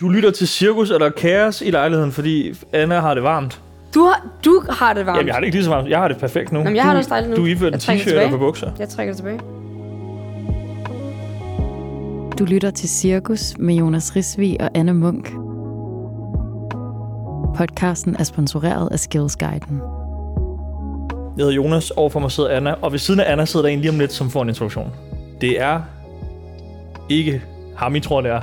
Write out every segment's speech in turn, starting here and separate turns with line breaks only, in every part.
Du lytter til cirkus eller kaos i lejligheden, fordi Anna har det varmt.
Du har, du har det varmt.
Jamen, jeg har det ikke lige så varmt. Jeg har det perfekt nu.
Jamen, jeg
du,
har det også dejligt nu.
Du er iført en
Jeg trækker
t-shirt og
tilbage.
på bukser.
jeg trækker det tilbage.
Du lytter til Cirkus med Jonas Risvig og Anne Munk. Podcasten er sponsoreret af Skillsguiden.
Jeg hedder Jonas, overfor mig sidder Anna, og ved siden af Anna sidder der en lige om lidt, som får en introduktion. Det er ikke ham, I tror, det er.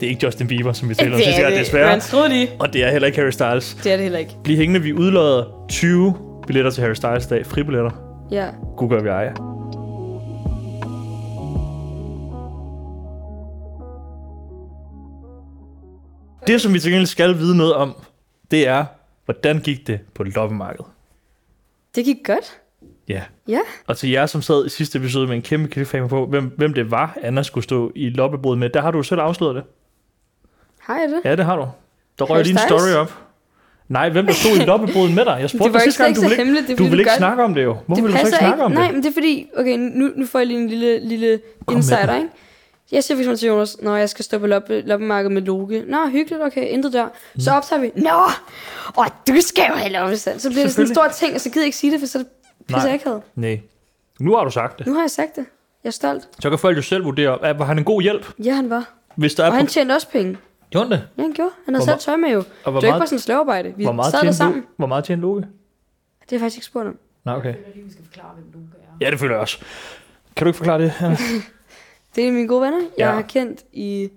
Det er ikke Justin Bieber, som vi talte om sidste gang, desværre.
Man troede lige.
Og det er heller ikke Harry Styles.
Det er det heller ikke.
Bliv hængende, vi udlader 20 billetter til Harry Styles dag. Fribilletter.
Ja.
Gud gør vi ejer. Det, som vi til gengæld skal vide noget om, det er, hvordan gik det på loppemarkedet?
Det gik godt.
Ja.
Ja.
Og til jer, som sad i sidste episode med en kæmpe cliffhanger på, hvem, hvem det var, Anna skulle stå i loppebordet med, der har du jo selv afsløret det.
Har jeg det?
Ja, det har du. Der
Harry
røg din
Styles?
story op. Nej, hvem der stod i loppebordet med dig? Jeg spurgte
Det var
dig
ikke
sidste gang,
slet ikke
du
så
ville ikke,
hemmeligt. Det er,
du
fordi,
ville ikke
gør det.
snakke om det jo. Hvorfor
det
ville du så ikke
passer
snakke om
Nej,
det?
men det er fordi... Okay, nu, nu får jeg lige en lille, lille
med
insider,
den.
ikke? Jeg siger fx til Jonas, når jeg skal stå på loppe, loppemarkedet med Loke. Nå, hyggeligt, okay, intet der.
Mm.
Så optager vi, nå, og du skal jo have loppestand. Så bliver det sådan en stor ting, og så gider jeg ikke sige det, for så er det
Nej.
pisser jeg ikke havde.
Nej. Nu har du sagt det.
Nu har jeg sagt det. Jeg er stolt.
Så kan folk jo selv vurdere, er, var han en god hjælp?
Ja, han var.
Hvis der er
Og han tjente også penge.
Gjorde han det?
Ja, han gjorde. Han havde
Hvor
selv tøj med jo.
Og
Det
hvor
var ikke bare
meget,
sådan slavearbejde. Vi
hvor meget
sad der
tjente
sammen.
Loke? Hvor meget tjente Loke?
Det har jeg faktisk ikke spurgt om.
Nej, okay. Ja, det føler jeg også. Kan du ikke forklare det? Anna?
Det er mine gode venner. Jeg
Ja.
har kendt i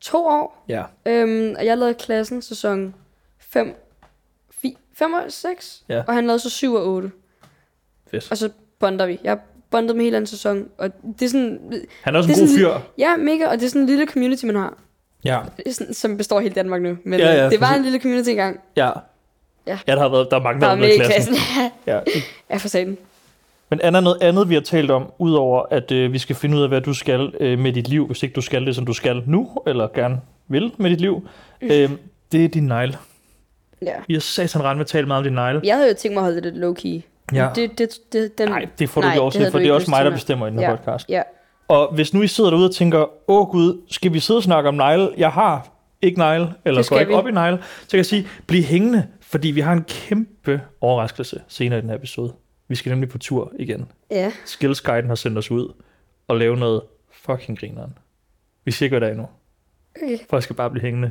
to år.
ja.
Øhm, og jeg lavede klassen sæson 5, 5 og 6.
Ja.
Og han lavede så 7 og 8.
Fedt.
Og så bonder vi. Jeg bondede med hele anden sæson. Og det er sådan...
Han er også
det
en
er
god fyr.
sådan- Ja, mega. Og det er sådan en lille community, man har.
Ja.
Det er Sådan, som består af hele Danmark nu. Men
Ja, ja,
øh, det var
præcis.
en lille community engang.
Ja.
Ja.
ja, der har været, der er mange, der
Der
har
var
været med i klassen. Ja.
ja, for satan.
Men Anna, noget andet, vi har talt om, udover at øh, vi skal finde ud af, hvad du skal øh, med dit liv, hvis ikke du skal det, som du skal nu, eller gerne vil med dit liv,
Mm.
øh, det er din negle.
Ja.
Vi har satan rent med talt meget om din negle.
Jeg havde jo tænkt mig at holde det lidt low-key.
Ja.
Det, det, det, den,
Nej, det får du
nej,
ikke overset,
havde
for
du
det er
ikke
også
lyst
mig,
til,
der
nej.
bestemmer i den her
Ja.
podcast.
Ja,
Og hvis nu I sidder derude og tænker, åh gud, skal vi sidde og snakke om negle? Jeg har ikke negle, eller
Det
går
skal
ikke
vi.
op i negle. Så kan jeg sige, bliv hængende, fordi vi har en kæmpe overraskelse senere i den her episode. Vi skal nemlig på tur igen.
ja.
Skillsguiden har sendt os ud og lave noget fucking grineren. Vi siger ikke, hvad der er endnu.
Okay.
Folk skal bare blive hængende.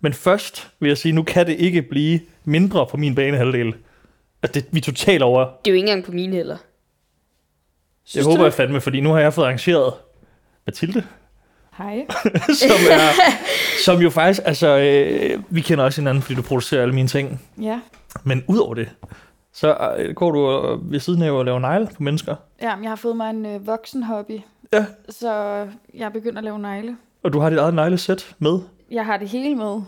Men først vil jeg sige, nu kan det ikke blive mindre på min banehalvdel. At det, vi er totalt over.
Det er jo ikke engang på mine heller.
Jeg
Synes
håber
du?
jeg fandme, fordi nu har jeg fået arrangeret Mathilde.
Hej.
som, er, som jo faktisk, altså, øh, vi kender også hinanden, fordi du producerer alle mine ting.
Ja.
Men udover det, så øh, går du øh, ved siden af og laver negle på mennesker.
Ja, men jeg har fået mig en øh, voksen hobby.
Ja.
Så jeg er begyndt at lave negle.
Og du har dit eget neglesæt med.
Jeg har det hele med.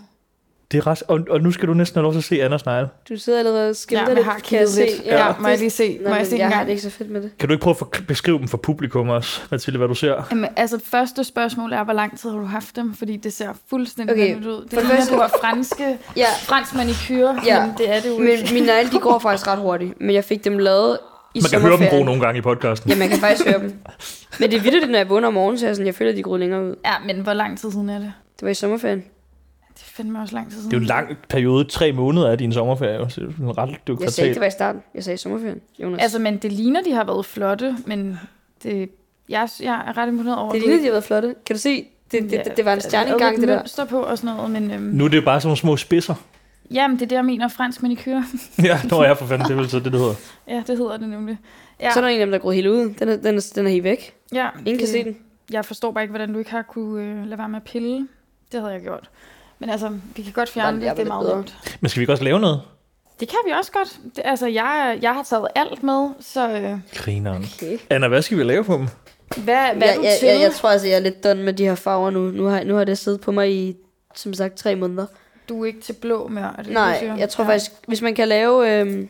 Det er ret, og, og nu skal du næsten have lov til at se Anders negle.
Du sidder allerede og skilter
Ja, men jeg
lidt,
har
kan jeg
kigget
se.
lidt. Ja, ja, må jeg
det-
lige se?
Nå,
må jeg
men
se
jeg
en
har
gang?
det ikke så fedt med det.
Kan du ikke prøve at forkl- beskrive dem for publikum også, Mathilde, hvad du ser?
Jamen, altså, første spørgsmål er, hvor lang tid har du haft dem? Fordi det ser fuldstændig
Okay,
okay. ud. Det
for det
ligner,
første-
du har franske,
Ja,
fransk manikyr,
Ja,
ja. men det er det jo
men
ikke.
mine negle, de går faktisk ret hurtigt. Men jeg fik dem lavet i
Man kan høre dem bruge nogle gange i podcasten.
Ja, man kan faktisk høre dem. Men det er vildt, at når jeg vågner om morgenen, så er jeg sådan, jeg føler, at de går længere ud.
Ja, men hvor lang tid siden er det?
Det var i sommerferien.
Det er fandme også lang tid siden.
Det er jo en lang periode, tre måneder af din sommerferie. jo, Så det er sådan ret, det er jo
Jeg sagde ikke,
kvartal.
det var i starten. Jeg sagde i sommerferien, Jonas.
Altså, men det ligner, de har været flotte, men det... Jeg, jeg er ret imponeret over
det
at
ligner,
du-
de har været flotte. Kan du se? Det, det, det, det var en
Ja,
stjernegang,
der
det
er lidt
der.
mønster på og sådan noget, men... Øhm,
Nu er det jo bare sådan nogle små spidser.
Jamen, det er det, jeg mener, fransk manikyr.
ja, når jeg for fanden, det er vel så det, det hedder.
Ja, det hedder det nemlig. Ja,
Så er der en af dem, der er gået helt ud. Den er, den er, den er helt væk.
ja,
Ingen kan
det-
se den.
Jeg forstår bare ikke, hvordan du ikke har kunne øh, lade være med at pille. Det havde jeg gjort. Men altså, vi kan godt
Nej,
fjerne
jeg
det, det
var
er meget
lidt
nemt.
Men skal vi ikke også lave noget?
Det kan vi også godt. Det, altså, jeg, jeg har taget alt med, så øh,
Grineren.
Okay.
Anna, hvad skal vi lave på dem?
hvad, hvad
jeg,
er du
jeg,
til?
Jeg, jeg tror altså, jeg er lidt done med de her farver nu. Nu har, nu har det siddet på mig i, som sagt, tre måneder.
Du er ikke til blå mere, er det det, du
Nej,
siger?
jeg tror faktisk, hvis man kan lave... Øhm,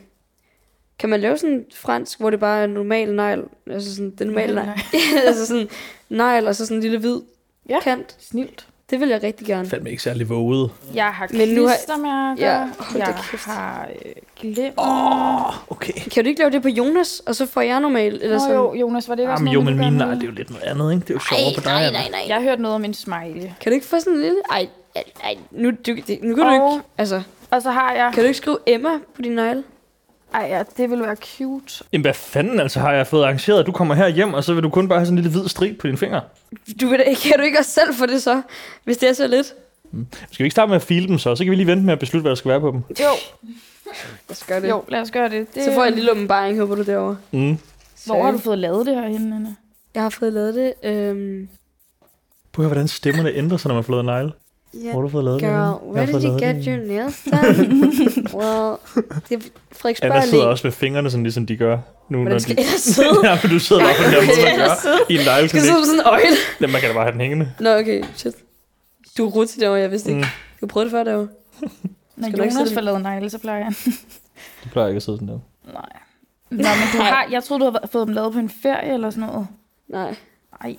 kan man lave sådan fransk, hvor det bare er en normal negl? Altså sådan, den normale negl. altså sådan negl, og så sådan en lille hvid ja.
Ja.
kant.
Snilt.
Det vil jeg rigtig gerne.
Fandme ikke særlig våget.
Jeg har
Men nu har-
klistermærker.
Ja,
Ja,
hold da
jeg
kæft.
har øh, glimmer. Oh,
Okay.
Kan du ikke lave det på Jonas, og så får jeg normal? Eller
Nå
sådan?
jo, Jonas, var det ikke også
Jamen,
noget,
jo,
med,
men
du gerne
mine, nej,
ville?
det er jo lidt noget andet, ikke? Det er jo sjovere på dig. Nej, nej, nej.
Jeg hørte noget om en smiley.
Kan du ikke få sådan en lille... Ej, Ej, ej, nu, du, det, nu kan du
Og-
ikke... Altså,
Og så har jeg...
kan du ikke skrive Emma på din nøgle?
Ej, ja, det ville være cute.
Jamen, hvad fanden altså har jeg fået arrangeret, at du kommer her hjem, og så vil du kun bare have sådan en lille hvid strib på dine fingre?
Du vil da ikke, kan du ikke også selv få det så, hvis det er så lidt?
Skal vi ikke starte med at file dem så? Så kan vi lige vente med at beslutte, hvad der skal være på dem.
Jo,
Jeg skal gøre det.
jo, lad os gøre det. det
Så får jeg en lille åbenbaring, håber du derovre.
Mm.
Hvor har du fået lavet det her henne, Anna?
Jeg har fået lavet det. Øhm,
Prøv at høre, hvordan stemmerne ændrer sig, når man får lavet en negle.
yeah.
Hvor har du fået lavet det? henne?
Girl,
Jeg har
where did
fået
you
lavet
get
det
your nails done? well, det er Frederiksberg
Anna sidder
Allé.
også med fingrene, sådan ligesom de gør. Nu, når
Hvordan
de...
skal jeg sidde?
ja, men du sidder bare på den her måde, man gør i en
Skal jeg sidde
negleklinik.
med sådan en øjle?
Ja, man kan da bare have den hængende.
Nå, okay, shit. Du er rutsig derovre, jeg vidste ikke.
Mm.
Du prøvede det før derovre.
Når
Skal du ikke
Jonas
sidde-
får lavet negle, så plejer jeg.
Du plejer ikke at sidde sådan der.
Nej. Nå, men du har, jeg troede, du havde fået dem lavet på en ferie eller sådan noget.
Nej.
Nej.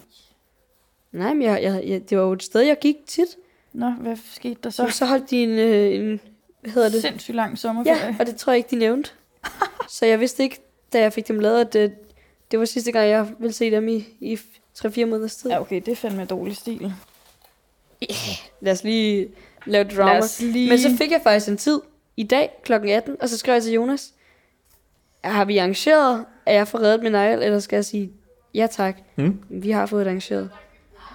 Nej, men jeg, jeg, jeg, det var jo et sted, jeg gik tit.
Nå, hvad skete der så?
Så, så holdt de en, øh, en... Hvad hedder det?
Sindssygt lang sommerferie.
Ja, og det tror jeg ikke, de nævnte. så jeg vidste ikke, da jeg fik dem lavet, at det, det var sidste gang, jeg ville se dem i, i 3-4 måneders tid.
Ja, okay, det er fandme dårlig stil.
Lad os lige lave drama.
Lad os lige...
Men så fik jeg faktisk en tid i dag kl. 18, og så skrev jeg til Jonas, har vi arrangeret, at jeg får reddet min negl, eller skal jeg sige, ja tak,
Mm.
vi har fået det arrangeret.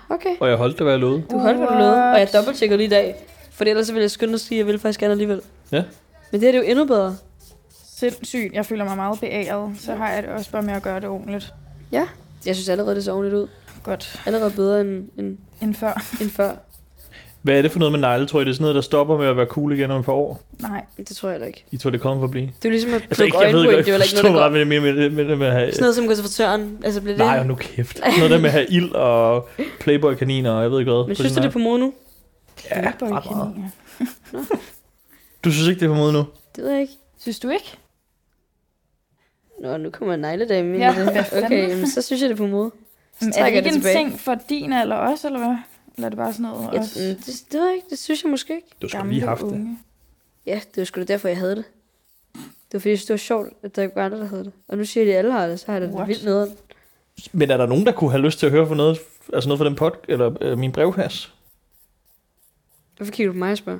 Okay,
Og jeg holdt det, hvad jeg lovede.
du holdt, hvad du lovede, og jeg dobbelttjekkede lige i dag, for ellers så ville jeg skynde at sige, at jeg ville faktisk gerne alligevel.
Ja.
Men det her det er jo endnu bedre.
Sindssygt. Jeg føler mig meget beæret. Så har jeg det også bare med at gøre det ordentligt.
Jeg synes allerede, det så ordentligt ud.
Godt.
Allerede bedre end, end,
End før.
end før.
Hvad er det for noget med negle, tror I? Det er sådan noget, der stopper med at være cool igen om et par år.
Nej.
Det tror jeg heller ikke.
I tror, det kommer for at blive.
Det er jo ligesom at
Altså,
plukke
ikke,
altså,
jeg ved
øjenbryn,
ikke,
det er jo heller ikke
forstår
noget, der
meget
går.
med det, med, med, med, det med at have...
Sådan noget som konservatøren, altså bliver det...
Nej, og nu kæft. Noget der med at have ild og playboy-kaniner og jeg ved ikke hvad. på
Men synes du
sin
det er på mono?
Ja,
Playboy
ret meget.
kaniner.
negl. Du synes ikke, det er på mode nu?
Det ved jeg ikke.
Synes du ikke?
Nå, nu kommer en negledame ind
Ja,
i det.
hvad fanden?
Okay, jamen, så synes jeg, det er på mode.
Men er det
trækker
ikke
det
en
tilbage.
ting for din eller os, eller hvad? Eller er det bare sådan noget
Jeg,
os
mm, det, det ved jeg ikke, det synes jeg måske ikke.
Du skulle
gamle
lige have haft det.
unge?
Ja, det var sgu da derfor, jeg havde det. Det var fordi, jeg synes, det var sjovt, at der ikke var andre, der havde det. Og nu siger de, at alle har det, så har jeg det
What?
vildt nederen.
Men er der nogen, der kunne have lyst til at høre for noget, altså noget fra den pod, eller øh, min brevkasse?
Hvorfor kigger du på mig og spørger?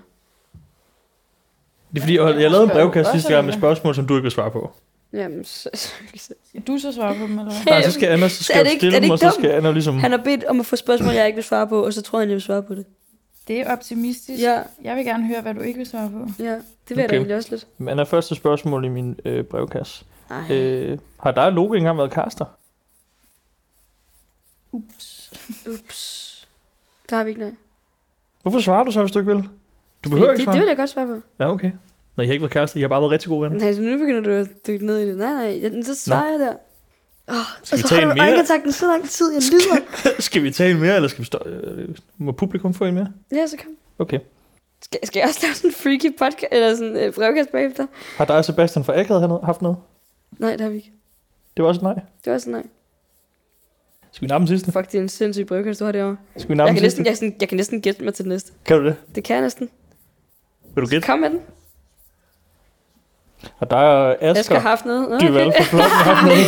Det er fordi, jeg, jeg lavede en brevkasse sidste gang med spørgsmål, som du ikke vil svare på.
Jamen, så, så, så.
Skal du så svare på dem, eller hvad?
Nej, så skal Anna så
Er
skal
det
jeg
ikke-
stille
er
dem,
det ikke
og så
dumt?
skal Anna ligesom...
Han har bedt om at få spørgsmål, jeg ikke vil svare på, og så tror jeg, jeg vil svare på det.
Det er optimistisk.
Ja,
Jeg vil gerne høre, hvad du ikke vil svare på.
ja. Det vil jeg da
Okay.
egentlig også lidt.
Anna, første spørgsmål i min øh, brevkasse.
Ej.
Øh, har dig og Loke engang været kaster?
Ups.
Ups. Der har vi ikke nej.
Hvorfor svarer du så, hvis du ikke vil? Du behøver ikke
det, det
svare.
vil jeg godt svare på.
Ja, okay. Nå, jeg har ikke været kærester, jeg har bare været rigtig gode venner.
Nej, så nu begynder du at dykke ned i det. Nej, nej, jeg, så svarer jeg der. Oh,
Skal
og
vi
så
tage
holder
en
du
mere?
øjenkontakten så lang tid, jeg lyder.
skal vi tage en mere, eller skal vi stå... Øh, må publikum få en mere?
ja, så kom.
Okay.
Skal, skal jeg også lave sådan en freaky podcast, eller sådan en øh, brevkast bagefter?
Har dig og Sebastian fra Akad hernede- haft noget?
Nej, det har vi ikke.
Det var også et nej.
Det var sådan, nej.
Skal vi nappe den sidste?
Fuck, det er en sindssyg brevkast, du har derovre.
Skal vi
Jeg
nappe
kan,
den sidste?
næsten, jeg, sådan, jeg kan næsten gætte mig til den næste.
Kan du det?
Det kan jeg næsten.
Vil du gætte?
Kom med den.
Har dig og
Jeg
Asger
skal have haft noget. Nå,
Duval fra
okay.
Flokken haft noget?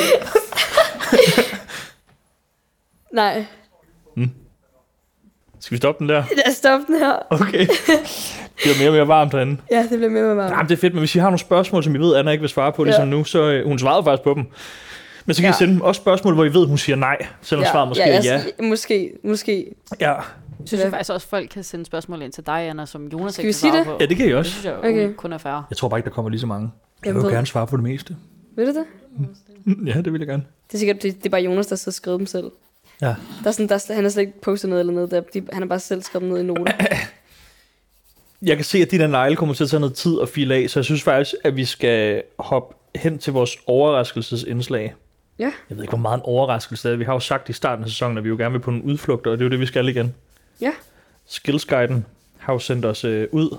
Nej,
Skal vi stoppe den der?
lad os stoppe den her.
Okay. Det bliver mere og mere varmt derinde.
Ja, det bliver mere med mig.
Jamen, det er fedt, men hvis I har nogle spørgsmål, som I ved, Anna ikke vil svare på, ligesom nu, så øh, hun svarede faktisk på dem. Men så kan ja. I
Ja.
sende dem også spørgsmål, hvor I ved, hun siger nej, selvom ja. svaret måske
ja,
er ja.
jeg- Måske, måske.
ja.
Synes
Ja.
jeg faktisk også, folk kan sende spørgsmål ind til dig, Anna, som Jonas
Skal
ikke
vi
kan
sige
svare
det?
på.
Ja, det kan I
det
også.
synes jeg
Okay.
okay. kun er færre.
Jeg tror bare ikke, der kommer lige så mange. Jeg vil
ved-
jo gerne svare på det meste.
Ved du det?
Mm, Ja, det vil jeg gerne.
Det er sikkert, det, det er bare Jonas, der sidder og skriver dem selv.
Ja.
Der er sådan, der, er slet- han har slet ikke postet noget eller noget. Der, de, han har bare selv skrevet dem ned i noter.
Jeg kan se, at de der negle kommer til at tage noget tid at file af, så jeg synes faktisk, at vi skal hoppe hen til vores overraskelsesindslag.
Ja.
Jeg ved ikke, hvor meget en overraskelse det er. Vi har jo sagt i starten af sæsonen, at vi jo gerne vil på nogle udflugter, og det er jo det, vi skal igen.
Ja.
Skillsguiden har jo sendt os øh, ud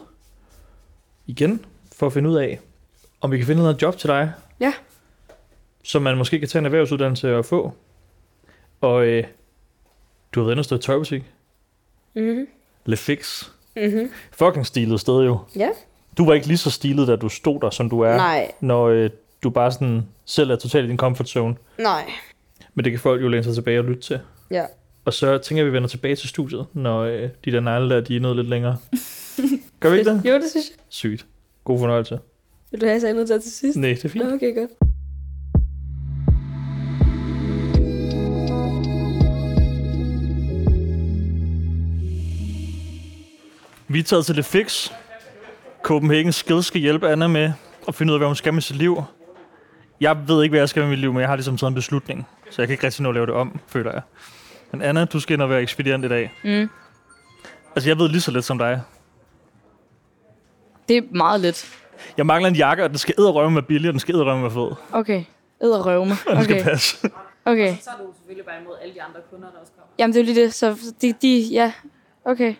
igen for at finde ud af, om vi kan finde noget job til dig.
Ja.
Som man måske kan tage en erhvervsuddannelse og få. Og øh, du har været inde og stå i tøjbutik.
Mhm.
Lefix.
Mhm.
Fucking stilet sted jo.
Ja.
Du var ikke lige så stilet, da du stod der, som du er,
Nej,
når øh, du bare sådan selv er totalt i din comfort zone.
nej.
Men det kan folk jo læne sig tilbage og lytte til.
Ja.
Og så tænker jeg, at vi vender tilbage til studiet, når øh, de der negle der, de er nået lidt længere. Gør vi ikke det?
Jo, det synes jeg.
Sygt. God fornøjelse.
Vil du have, at jeg sagde noget der til sidst?
Nej, det er fint.
Nå, Okay, godt.
Vi er taget til det fix. Copenhagen Skid skal hjælpe Anna med at finde ud af, hvad hun skal med sit liv. Jeg ved ikke, hvad jeg skal med mit liv, men jeg har ligesom taget en beslutning. Så jeg kan ikke rigtig nå at lave det om, føler jeg. Men Anna, du skal ind og være ekspedient i dag.
Mm.
Altså, jeg ved lige så lidt som dig.
Det er meget lidt.
Jeg mangler en jakke, og den skal edderrømme med billig, og den skal edderrømme med fed.
Okay. Æd og røve mig. Okay.
Pas.
okay.
Så er du selvfølgelig bare imod alle de andre kunder, der også kommer.
Jamen, det er jo lige det, så de, de ja.
Okay.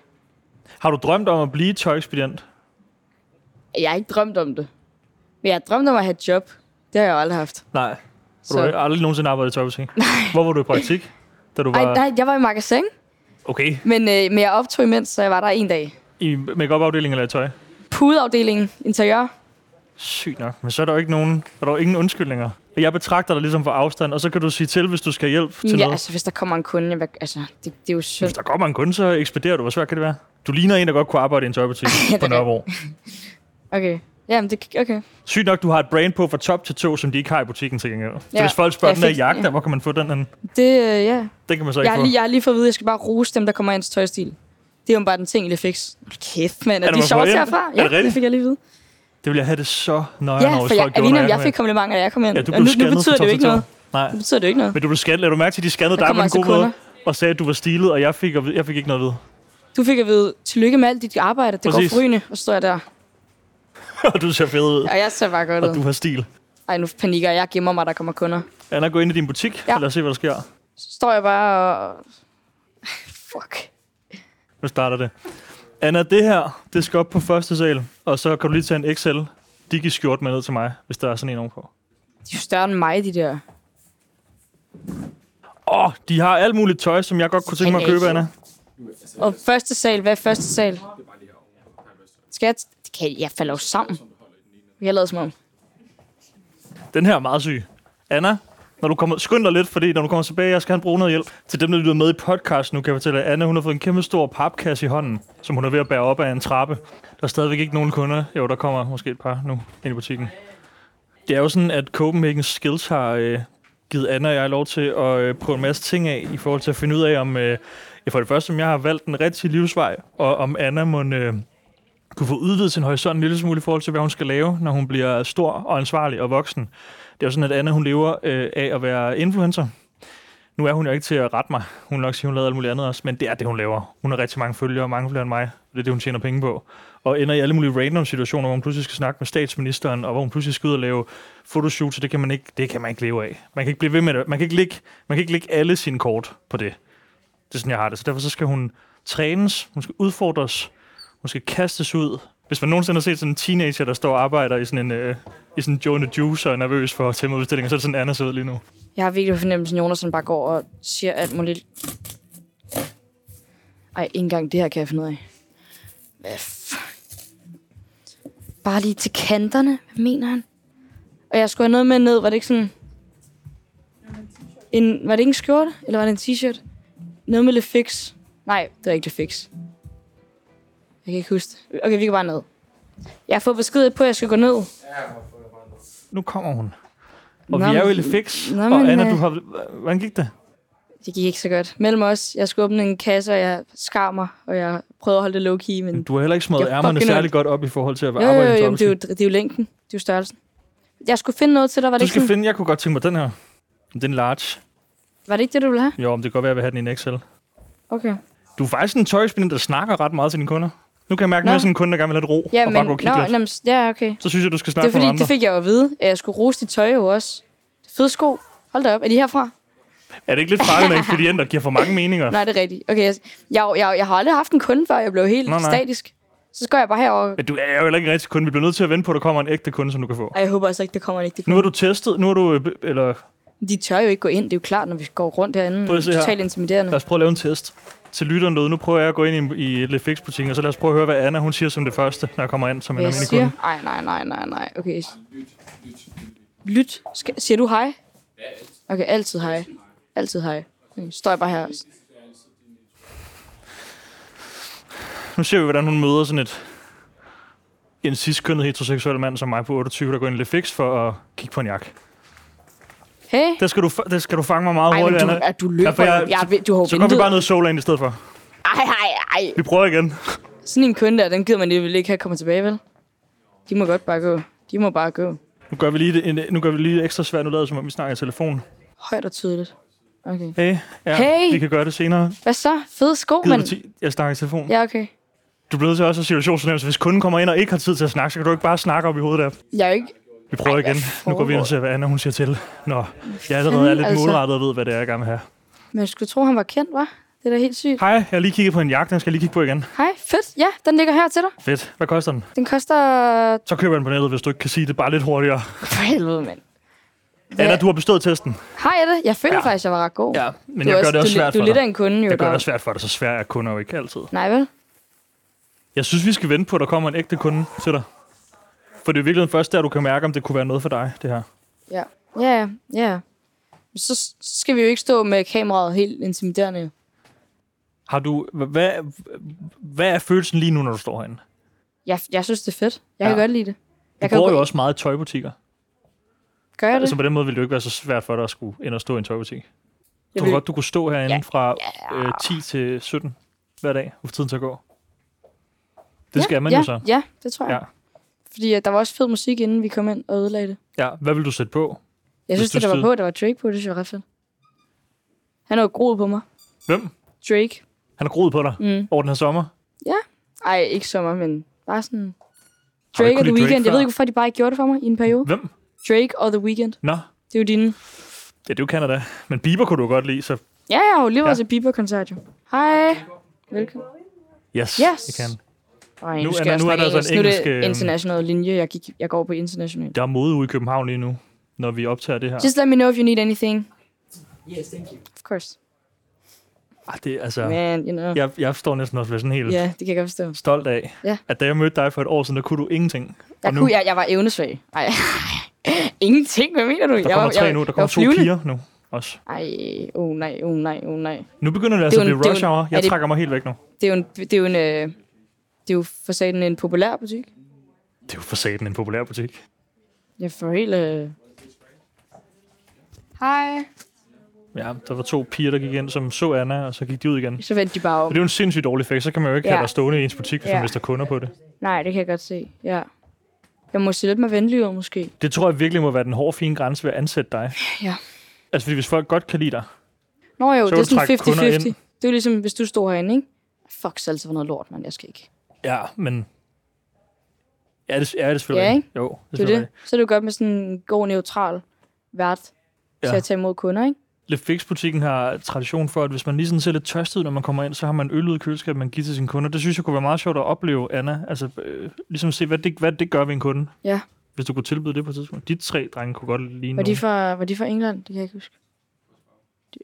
Har du drømt om at blive tøjekspedient?
Jeg har ikke drømt om det. Men jeg har drømt om at have et job. Det har jeg jo aldrig haft.
Nej. Så. Du
Så-
har aldrig nogensinde arbejdet i tøjbutik? Nej. Hvor var du i praktik? Da du var...
Ej, nej, jeg var i magasin,
Okay.
men, øh, men jeg optog imens, så jeg var der en dag.
I make-up-afdelingen eller i tøj?
Pudeafdelingen, interiør.
Sygt nok. Men så er der jo ikke nogen, er der jo ingen undskyldninger. Jeg betragter dig ligesom for afstand, og så kan du sige til, hvis du skal hjælp til
Ja,
noget.
altså hvis der kommer en kunde, jeg, vil- altså det, det er jo
Hvis
synd.
der kommer en kunde, så ekspederer du. Hvor svært kan det være? Du ligner en, der godt kunne arbejde i en tøjbutik på
det er
Nørrebro.
Okay. Jamen det, okay.
Sygt nok, du har et brand på fra top til tå, som de ikke har i butikken til gengæld. Så
Ja.
hvis folk spørger,
Jeg
den der
fik-
jakke der, hvor kan man få den? Den,
Det, øh, ja.
den kan man så ikke
Jeg har,
få.
lige, jeg har lige fået at vide, at jeg skal bare rose dem, der kommer ind til tøjstil. Det er jo bare den ting, jeg fix. Kæft, mand.
Er
Er
der
de
bare
sjovt
for-
herfra?
Er
Ja,
det rigtigt?
det fik jeg lige at vide.
Det ville jeg have det så nøjere,
Ja,
når
for
hvis
jeg,
folk
jeg
gjorde,
ligner,
når
om jeg
kom
fik
ind.
komplimenter, da jeg kom ind.
Ja, du
Og
blev
nu, nu
scannet
betyder
fra top
det jo ikke
til
noget.
tå. Nej.
Nu betyder det jo ikke noget.
Men du blev scannet. Lad du mærke til, at de scannede
Der
dig på
kommer
en
altså
god måde,
kunder.
og sagde, at du var stilet, og jeg fik, at vide- jeg fik ikke noget ved.
Du fik at vide, tillykke med alt dit arbejde. Det
Præcis.
går forrygende. Og så står jeg der.
og du ser fed ud,
Og jeg ser bare godt
og du
ud.
har stil.
Ej, nu panikker jeg. Jeg gemmer mig, der kommer kunder.
Anna, gå ind i din butik,
Ja.
og lad os se, hvad der sker.
Så står jeg bare og... Fuck.
Nu starter det. Anna, det her, det skal op på første sal, og så kan du lige tage en XL digi-skjort med ned til mig, hvis der er sådan en ovenpå.
De er jo større end mig, de der.
Åh, oh, de har alt muligt tøj, som jeg godt kunne tænke mig at købe, Anna.
Og første sal, hvad er første sal? Skal jeg... T- det kan jeg, jeg falder jo sammen. Jeg lader som om.
Den her er meget syg. Anna, når du kommer, skynd dig lidt, fordi når du kommer tilbage, jeg skal han bruge noget hjælp. Til dem, der lytter med i podcasten, nu kan jeg fortælle, at Anna hun har fået en kæmpe stor papkasse i hånden, som hun er ved at bære op af en trappe. Der er stadigvæk ikke nogen kunder. Jo, der kommer måske et par nu ind i butikken. Det er jo sådan, at Copenhagen Skills har øh, givet Anna og jeg lov til at øh, prøve en masse ting af, i forhold til at finde ud af, om øh, ja, for det første, om jeg har valgt den rigtige livsvej, og om Anna må øh, kunne få udvidet sin horisont en lille smule i forhold til, hvad hun skal lave, når hun bliver stor og ansvarlig og voksen. Det er jo sådan, at Anna hun lever øh, af at være influencer. Nu er hun jo ikke til at rette mig. Hun vil nok sige, hun lavede alt muligt andet også, men det er det, hun laver. Hun har rigtig mange følgere, mange flere end mig. Det er det, hun tjener penge på. Og ender i alle mulige random situationer, hvor hun pludselig skal snakke med statsministeren, og hvor hun pludselig skal ud og lave fotoshoots, og det kan man ikke, det kan man ikke leve af. Man kan ikke blive ved med det. Man kan ikke lægge, man kan ikke lægge alle sine kort på det. Det er sådan, jeg har det. Så derfor så skal hun trænes, hun skal udfordres, hun skal kastes ud. Hvis man nogensinde har set sådan en teenager, der står og arbejder i sådan en, øh, i sådan en Joe and the Juice og er nervøs for at tage mod udstillinger, så er det sådan, Anna sidder lige nu.
Jeg har virkelig på fornemmelsen, at Jonas han bare går og siger alt muligt. Ej, ikke engang det her kan jeg finde ud af. Hvad f- Bare lige til kanterne. Hvad mener han? Og jeg skulle have noget med ned. Var det ikke sådan... En, var det ikke en skjorte? Eller var det en t-shirt? Noget med Lefix. Nej, det var ikke Lefix. Jeg kan ikke huske det. Okay, vi går bare ned. Jeg har fået besked på, at jeg skal gå ned.
Nu kommer hun. Og
Nå,
vi er jo i
men-
Lefix.
nå,
og
men,
Anna,
øh,
du har... Hvordan gik det?
Det gik ikke så godt. Mellem os, jeg skulle åbne en kasse, og jeg skar mig, og jeg prøvede at holde det low-key, men...
Du har heller ikke smået
Jeg er
ærmerne
fucking
særlig
ondt.
godt op i forhold til at
Jo, jo,
arbejde
jo,
i
jo,
en
men det er jo,
topstil.
det er jo længden. Det er jo størrelsen. Jeg skulle finde noget til dig, var det,
Du
ikke
skal
sådan,
finde... Jeg kunne godt tænke mig den her. Det er en large.
var det ikke det, du ville have?
Jo, men det kan godt være, at jeg vil have den i en XL.
Okay.
Du er faktisk en tøjspinner, der snakker ret meget til dine kunder. Nu kan jeg mærke, at
Nå.
nu er sådan en kunde, der gerne vil have lidt ro
Ja,
og
men,
bare gå og kigge
nå,
lidt.
jamen, s- ja, okay.
Så synes jeg, du skal
Det
snakke
er
med
fordi,
nogle andre.
det fik jeg jo at vide, at jeg skulle rose dit tøj jo også. Det er fede sko. Hold da op, er de herfra?
Er det ikke lidt farligt, når ekspedienter giver for mange meninger?
Nej, det er rigtigt. Okay, jeg, jeg, jeg, jeg har aldrig haft en kunde før, jeg blev helt
Nå, nej.
statisk. Så går jeg bare herover.
Men du er jo heller ikke en rigtig kunde. Vi bliver nødt til at vente på, at der kommer en ægte kunde, som du kan få.
Ej, jeg håber altså ikke, det kommer en ægte
Nu har du testet, nu har du, øh, b- eller
kunde. De tør jo ikke gå ind, det er jo klart, når vi går rundt herinde.
Prøv at se her.
Totalt intimiderende.
lad os prøve at lave en test. Til lytteren derude, nu prøver jeg at gå ind i, i Lefix-butikken, og så lad os prøve at høre, hvad Anna hun siger som det første, når jeg kommer ind som en
Hvad jeg
almindelig
siger?
kunde.
Ej, nej, nej, nej, nej. Okay. Lyt. Skal, siger du hej? Okay, altid hej. Altid hej. Okay, står jeg bare her.
Nu ser vi, hvordan hun møder sådan et en sidstkønnet heteroseksuel mand som mig på 28, der går ind i Lefix for at kigge på en jak.
Hey.
Det skal du, fa- det skal du fange mig meget
Ej, men
hurtigt,
du,
Anna.
er, du
Ja, for
løber.
jeg-
Jeg, jeg, ved- du har jo
Så går vi
ventet.
bare ned i Solan i stedet for.
Ej, ej, ej.
Vi prøver igen.
Sådan en kunde der, den gider man vel ikke have kommer tilbage, vel? De må godt bare gå. De må bare gå.
Nu gør vi lige det, en- nu gør vi lige det ekstra svært. Nu lader det, som om vi snakker i telefon.
Højt og tydeligt. Okay.
Hey, ja,
Hey!
vi kan gøre det senere.
Hvad så? Fede sko,
Gider
mand.
du ti? Jeg snakker i telefon.
Ja, okay.
Du bliver nødt til også at have situationsfornemmelse. Hvis kunden kommer ind og ikke har tid til at snakke, så kan du ikke bare snakke op i hovedet af. dem.
Jeg er jo ikke...
Vi prøver
Ej,
igen.
hvad
Nu går vi ind og ser, hvad Anna hun siger til. Nå, jeg allerede er
Fanden,
lidt
altså.
målrettet og ved, hvad det er, jeg gerne vil have.
Men jeg skulle tro, han var kendt, var? Det er da helt sygt.
Hej, jeg har lige kigget på en jagt. Den skal jeg lige kigge på igen.
Hej, fedt. Ja, den ligger her til dig.
Fedt. Hvad koster den?
Den koster...
Så køber jeg den på nettet, hvis du ikke kan sige det bare lidt hurtigere.
For helvede, mand.
Ja. Anna, du har bestået testen.
Har jeg det? Jeg føler
Ja.
ja. faktisk, jeg var ret god.
Ja, men
du er
jeg gør det også
du, er
svært
lidt- Du
for
er lidt af
dig.
en kunde, jo.
Jeg gør
der.
det svært for dig, så svært er kunder jo ikke altid.
Nej, vel?
Jeg synes, vi skal vente på, at der kommer en ægte kunde til dig. For det er virkelig først der, du kan mærke, om det kunne være noget for dig, det her.
Ja. Ja, ja, ja. Men Så, så skal vi jo ikke stå med kameraet helt intimiderende. jo.
Har du... hva- Hvad, hvad er følelsen lige nu, når du står herinde?
Jeg, jeg synes, det er fedt. Jeg ja. kan
Ja.
godt lide det.
Du
kan jo
bruger jo altså,
gå-
også meget i tøjbutikker.
Gør jeg det?
Så på den måde ville det jo ikke være så svært for dig at skulle ind og stå i en tøjbutik. Du
Jeg
kunne
vil-
godt, du kunne stå herinde
Ja.
fra øh, 10 til 17 hver dag, hvor tiden så går. Det
Ja,
skal man
ja,
jo så.
Ja, det tror jeg.
Ja.
Ja. Fordi øh, der var også fed musik, inden vi kom ind og ødelagde det.
Ja, hvad vil du sætte på?
Jeg
Hvis
synes,
du
det, der var
stod-
på, der var Drake på, det synes jeg var ret fedt. Han havde groet på mig.
Hvem?
Drake.
Han har groet på dig
Mm.
over den her sommer.
Ej, ikke sommer, men bare sådan...
kunne
Drake og
lide
The
Drake
Weeknd. Jeg
før?
ved ikke, hvorfor de bare ikke gjorde det for mig i en periode.
Hvem?
Drake og The Weeknd.
Nå,
Det er jo dine.
ja, det er jo Canada. Men Bieber kunne du godt lide, så
Ja, jeg har jo lige været
Ja.
til Bieber-koncert, jo. Hej. Velkommen.
yes,
Yes.
jeg kan.
Nej,
Nu
nu,
er
skal
der-
jeg
nu er
snakke
der altså en
engelsk. Nu er det
engelsk, øhm,
international linje. Jeg, gik, jeg går på international.
Der er mode ude i København lige nu, når vi optager det her.
Just let me know if you need anything.
Yes, thank you.
Of course.
Ah, det, er altså,
Man, you know. Ja,
jeg, jeg står næsten også ved sådan helt
yeah, det kan jeg godt forstå.
stolt af,
Ja.
at da jeg mødte dig for et år siden, der kunne du ingenting.
Jeg,
og nu,
kunne, jeg, jeg var evnesvag. Ej. Ingenting, hvad mener du?
der
jeg
kommer
var,
tre
jeg,
nu, der
jeg
kommer
var
to
flyvende.
piger nu også.
Ej, oh nej, oh nej, oh nej.
Nu begynder det altså
jo
at
en-
blive
det er
rush
jo en-
hour. Jeg
er det-
trækker mig helt væk nu.
Det er jo en, det er jo en, øh, det er jo for satan en populær butik.
Det er jo for satan en populær butik.
Jeg får helt... Øh... Hej.
Ja, der var to piger, der gik ind, som så Anna, og så gik de ud igen.
Så vendte de bare
Og
om.
det er jo en sindssygt dårlig effekt. Så kan man jo ikke
Ja.
have dig stående i ens butik, ligesom hvis
Ja.
man mister kunder på det.
Nej, det kan jeg godt se. Ja. Jeg må se lidt mere venlig ud, måske.
Det tror jeg virkelig må være den hårde, fine grænse ved at ansætte dig.
Ja.
Altså, fordi hvis folk godt kan lide dig,
Nå jo,
Så
så det
vil
er
du trække kunder
sådan 50-50.
ind.
Det er jo ligesom, hvis du stod herinde, ikke? Fuck, salsa var altså noget lort, mand. Jeg skal ikke.
ja, men... Ja, det, ja, det er selvfølgelig.
Ja,
rigtigt.
ikke?
Jo, det er
Det er
selvfølgelig
det. Så er det jo godt med sådan en god, neutral vært ja.
Ja.
til at tage imod kunder, ikke?
Lefix-butikken har tradition for, at hvis man lige sådan ser lidt tørst ud, når man kommer ind, så har man øl ud i køleskabet, man giver til sine kunder. Det synes jeg kunne være meget sjovt at opleve, Anna. Altså, øh, ligesom se, hvad det, hvad det gør ved en kunde.
Ja.
Hvis du kunne tilbyde det på et tidspunkt. De tre drenge kunne godt ligne
Var de,
nogen.
fra, var de fra England? Det kan jeg ikke huske. Det,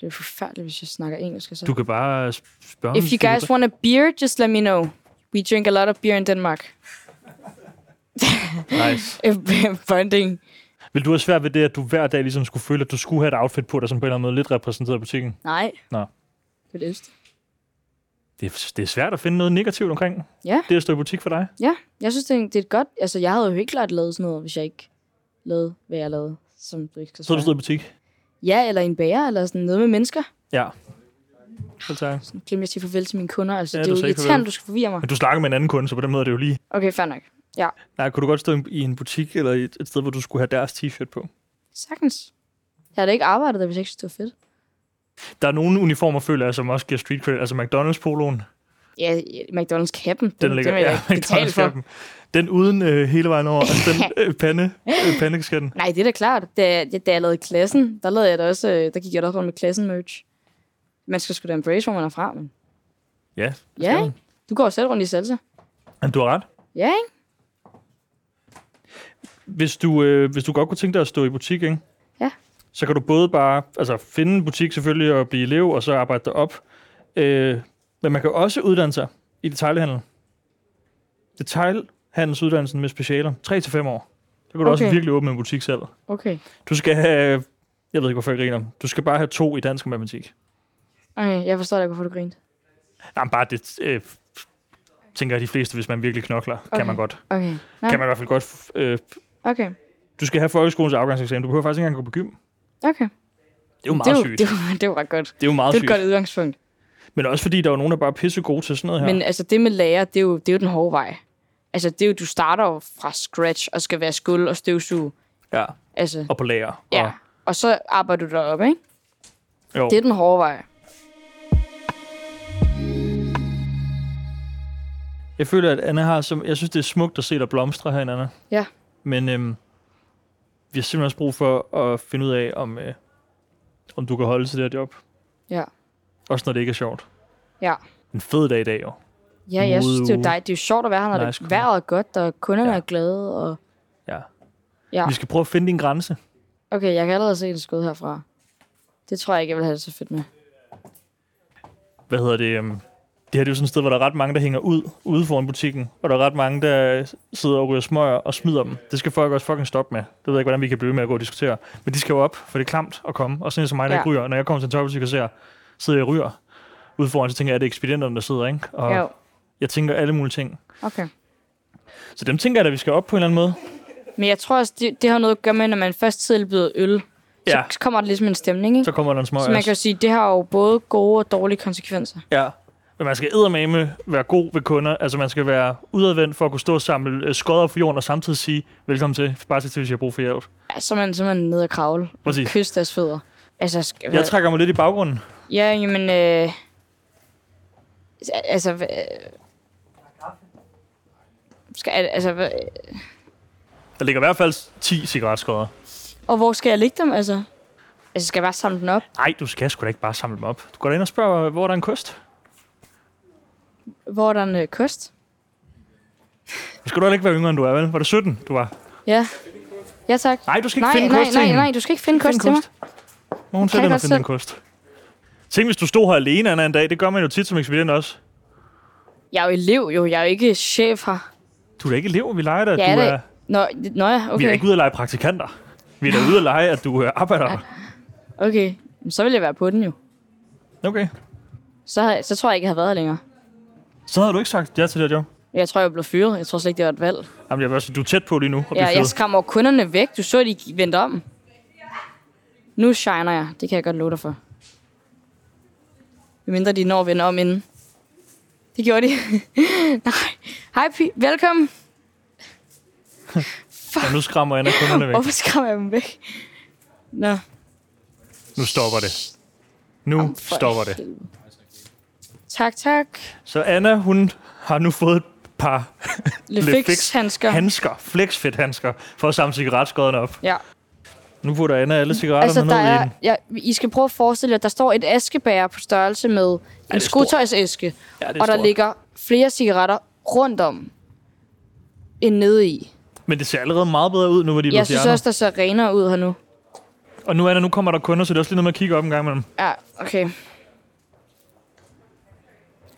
det er forfærdeligt, hvis jeg snakker engelsk. og Så.
Du kan bare sp- spørge
If
dem,
you
de kunne-
guys want a beer, just let me know. We drink a lot of beer in Denmark.
Nice.
Bonding.
Vil du have svært ved det, at du hver dag ligesom skulle føle, at du skulle have et outfit på dig, som på en eller anden måde lidt repræsenterede butikken?
Nej.
Nå.
Det er det eneste.
Det er, det er svært at finde noget negativt omkring
Ja.
det at stå i butik for dig.
Ja, jeg synes, det er, det er et godt... Altså, jeg havde jo helt klart lavet sådan noget, hvis jeg ikke lavede, hvad jeg lavede, som du ikke kan
Så du stod
svare.
i butik.
Ja, eller en bager, eller sådan noget med mennesker.
Ja. Så tager jeg.
Nu glemte jeg at sige farvel til mine kunder. Altså,
Ja,
ja, det
du
er jo
sagde ikke
irriterende,
farvel.
du skal forvirre mig.
Men du snakker med en anden kunde, så på den måde er det jo lige.
Okay, fair nok.
Nej, kunne du godt stå i- i en butik eller i et et sted, hvor du skulle have deres t-shirt på?
Sagtens. Jeg havde da ikke arbejdet der, hvis jeg ikke synes, det var fedt.
Der er nogle uniformer, føler jeg, som også giver street cred. Altså McDonald's-poloen,
Ja, McDonald's kappen. Den,
den
den,
ligger...
den vil jeg ja, ikke betale for.
McDonald's-kappen. Den uden øh, hele vejen over. altså den øh, pande, øh, pandekasketten.
Nej, det er da klart. Da, da jeg lavede klassen, der, lavede jeg da også, øh, der gik jeg da også rundt med klassen-merch. Man skal sgu da embrace, hvor man er fra. Men...
Ja.
Ja, ikke? Du går jo selv rundt i salsa.
Men du har ret.
Ja, ikke?
Hvis du, øh, hvis du godt kunne tænke dig at stå i butik, ikke?
Ja.
så kan du både bare altså, finde en butik selvfølgelig og blive elev, og så arbejde dig op. Øh, men man kan også uddanne sig i detailhandel. Detailhandelsuddannelsen med specialer. 3-5 år. Der kan du okay. også
Okay.
virkelig åbne en butik selv.
Okay.
Du skal have... Jeg ved ikke, hvorfor jeg griner. Du skal bare have to i dansk og matematik.
Okay, jeg forstår da, ikke, hvorfor du grinte.
Nej, men bare det... Øh, tænker jeg, de fleste, hvis man virkelig knokler, okay. kan man godt.
Okay.
Ja.
Ja.
Kan man i hvert fald godt... Øh,
Okay.
du skal have folkeskolens afgangseksamen. Du behøver faktisk ikke engang gå på gym. Det
Okay.
er jo
Det
meget
var,
sygt.
det, var, det var ret godt.
Det er jo meget
Det er et
sygt.
godt udgangspunkt.
Men også fordi, der er jo nogen, der bare er pisse gode til sådan noget her.
Men altså, det med lærer, det er jo, det er jo den hårde vej. Altså, det er jo, du starter jo fra scratch og skal være skuld og støvsuge.
ja.
Altså,
Og på lager.
ja. Og så arbejder du derop, ikke?
Og, jo.
Det er den hårde vej.
Jeg føler, at Anna har... Som, jeg synes, det er smukt at se dig blomstre her, Anna.
Ja.
Men øhm, vi har simpelthen også brug for at finde ud af, om, øh, om du kan holde til det her job.
Ja.
Også når det ikke er sjovt.
Ja.
En fed dag i dag, jo.
Ja, jeg synes, det er jo
Modeuge.
dejligt. Det er jo sjovt at være her, når
Nice,
nice,
cool.
det vejret er godt, og kunderne
Ja.
ja. er glade. Og...
Ja.
Ja.
Vi skal prøve at finde din grænse.
Okay, jeg kan allerede se det skud herfra. Det tror jeg ikke, jeg vil have det så fedt med.
Hvad hedder det? øhm, Det her det er jo sådan et sted, hvor der er ret mange, der hænger ud ude foran butikken. Og der er ret mange, der sidder og ryger smøger og smider dem. Det skal folk også fucking stoppe med. Det ved jeg ikke, hvordan vi kan blive ved med at gå og diskutere. Men de skal jo op, for det er klamt at komme. Og sådan en som mig, der
Ja.
ikke ryger. Når jeg kommer til en tøjbutik og ser, sidder jeg og ryger ude foran, så tænker jeg, at det er ekspedienterne, der sidder, ikke? Og
Jo,
jeg tænker alle mulige ting.
okay.
Så dem tænker jeg da, vi skal op på en eller anden måde.
Men jeg tror også, det, det har noget at gøre med, når man først tilbyder øl,
Ja,
så kommer der ligesom en stemning, ikke?
så kommer der en smøg.
Så man
også.
kan jo sige, det har jo både gode og dårlige konsekvenser.
Ja. Men man skal eddermame være god ved kunder. Altså man skal være udadvendt for at kunne stå og samle øh, skodder fra jorden og samtidig sige, velkommen til, bare til, hvis jeg har brug for hjælp.
Ja, så er man simpelthen nede og kravle og
Præcis.
kysse deres fødder. Altså, skal,
Jeg trækker mig lidt i baggrunden.
ja, jamen, øh, altså, øh, skal, altså, hvad-
Der ligger i hvert fald 10 cigaretskodder.
og hvor skal jeg lægge dem, altså? Altså, skal jeg bare samle den op?
Nej, du skal sgu da ikke bare samle dem op. Du går da ind og spørger, hvor er der en kost?
Hvor er der en øh, kost?
Nu skal du heller ikke være yngre, end du er, vel? Var det 17, du var?
Ja. Ja, tak.
Nej, du skal ikke
Nej,
finde
nej,
kost til
nej,
hende.
nej, du skal ikke finde kost til mig.
Må hun
Kan
selv
jeg
ind og
godt
finde den kost. Tænk, hvis du stod her alene Anna, en dag. Det gør man jo tit som ekspedient også.
Jeg er jo elev, jo. Jeg er jo ikke chef her.
Du er da ikke elev, vi leger dig. at
Jeg er
du
da-
er,
Nå, nå ja,
Vi er da
okay.
ikke ude at lege praktikanter. Vi er da ude at lege, at du øh, arbejder.
Okay, Men så vil jeg være på den jo.
Okay.
Så, havde- så tror jeg ikke, jeg havde været her længere.
Så havde du ikke sagt ja til det her job.
Jeg tror, jeg blev fyret. Jeg tror slet ikke, det var et valg.
Jamen, jeg vil også sige, du er tæt på lige nu. Og
Ja,
ja,
jeg skræmmer jo kunderne væk. Du så, at de vendte om. Nu shiner jeg. Det kan jeg godt love dig for. Mindre de når at vende om inden. Det gjorde de. Nej. Hej, pi- velkommen.
og nu skræmmer Anna kunderne væk.
Hvorfor skræmmer jeg dem væk? Nå.
Nu stopper det. Nu Jamen,
for
stopper det.
helvede. Tak, tak.
Så Anna, hun har nu fået et par Lefix
Lefix handsker.
handsker, flexfit-handsker, for at samle cigaretskoderne op.
Ja.
Nu putter Anna alle cigaretterne
Altså, der
ned i
er,
en.
ja, I skal prøve at forestille jer, at der står et askebær på størrelse med en
er stort.
skotøjsæske,
Ja, det er
og der
stort.
ligger flere cigaretter rundt om end nede i.
Men det ser allerede meget bedre ud, nu hvor de er
Jeg
blevet
synes
fjernet.
også, der ser renere ud her nu.
Og nu, Anna, nu kommer der kunder, så det er også lige noget med at kigge op en gang imellem.
Ja, okay.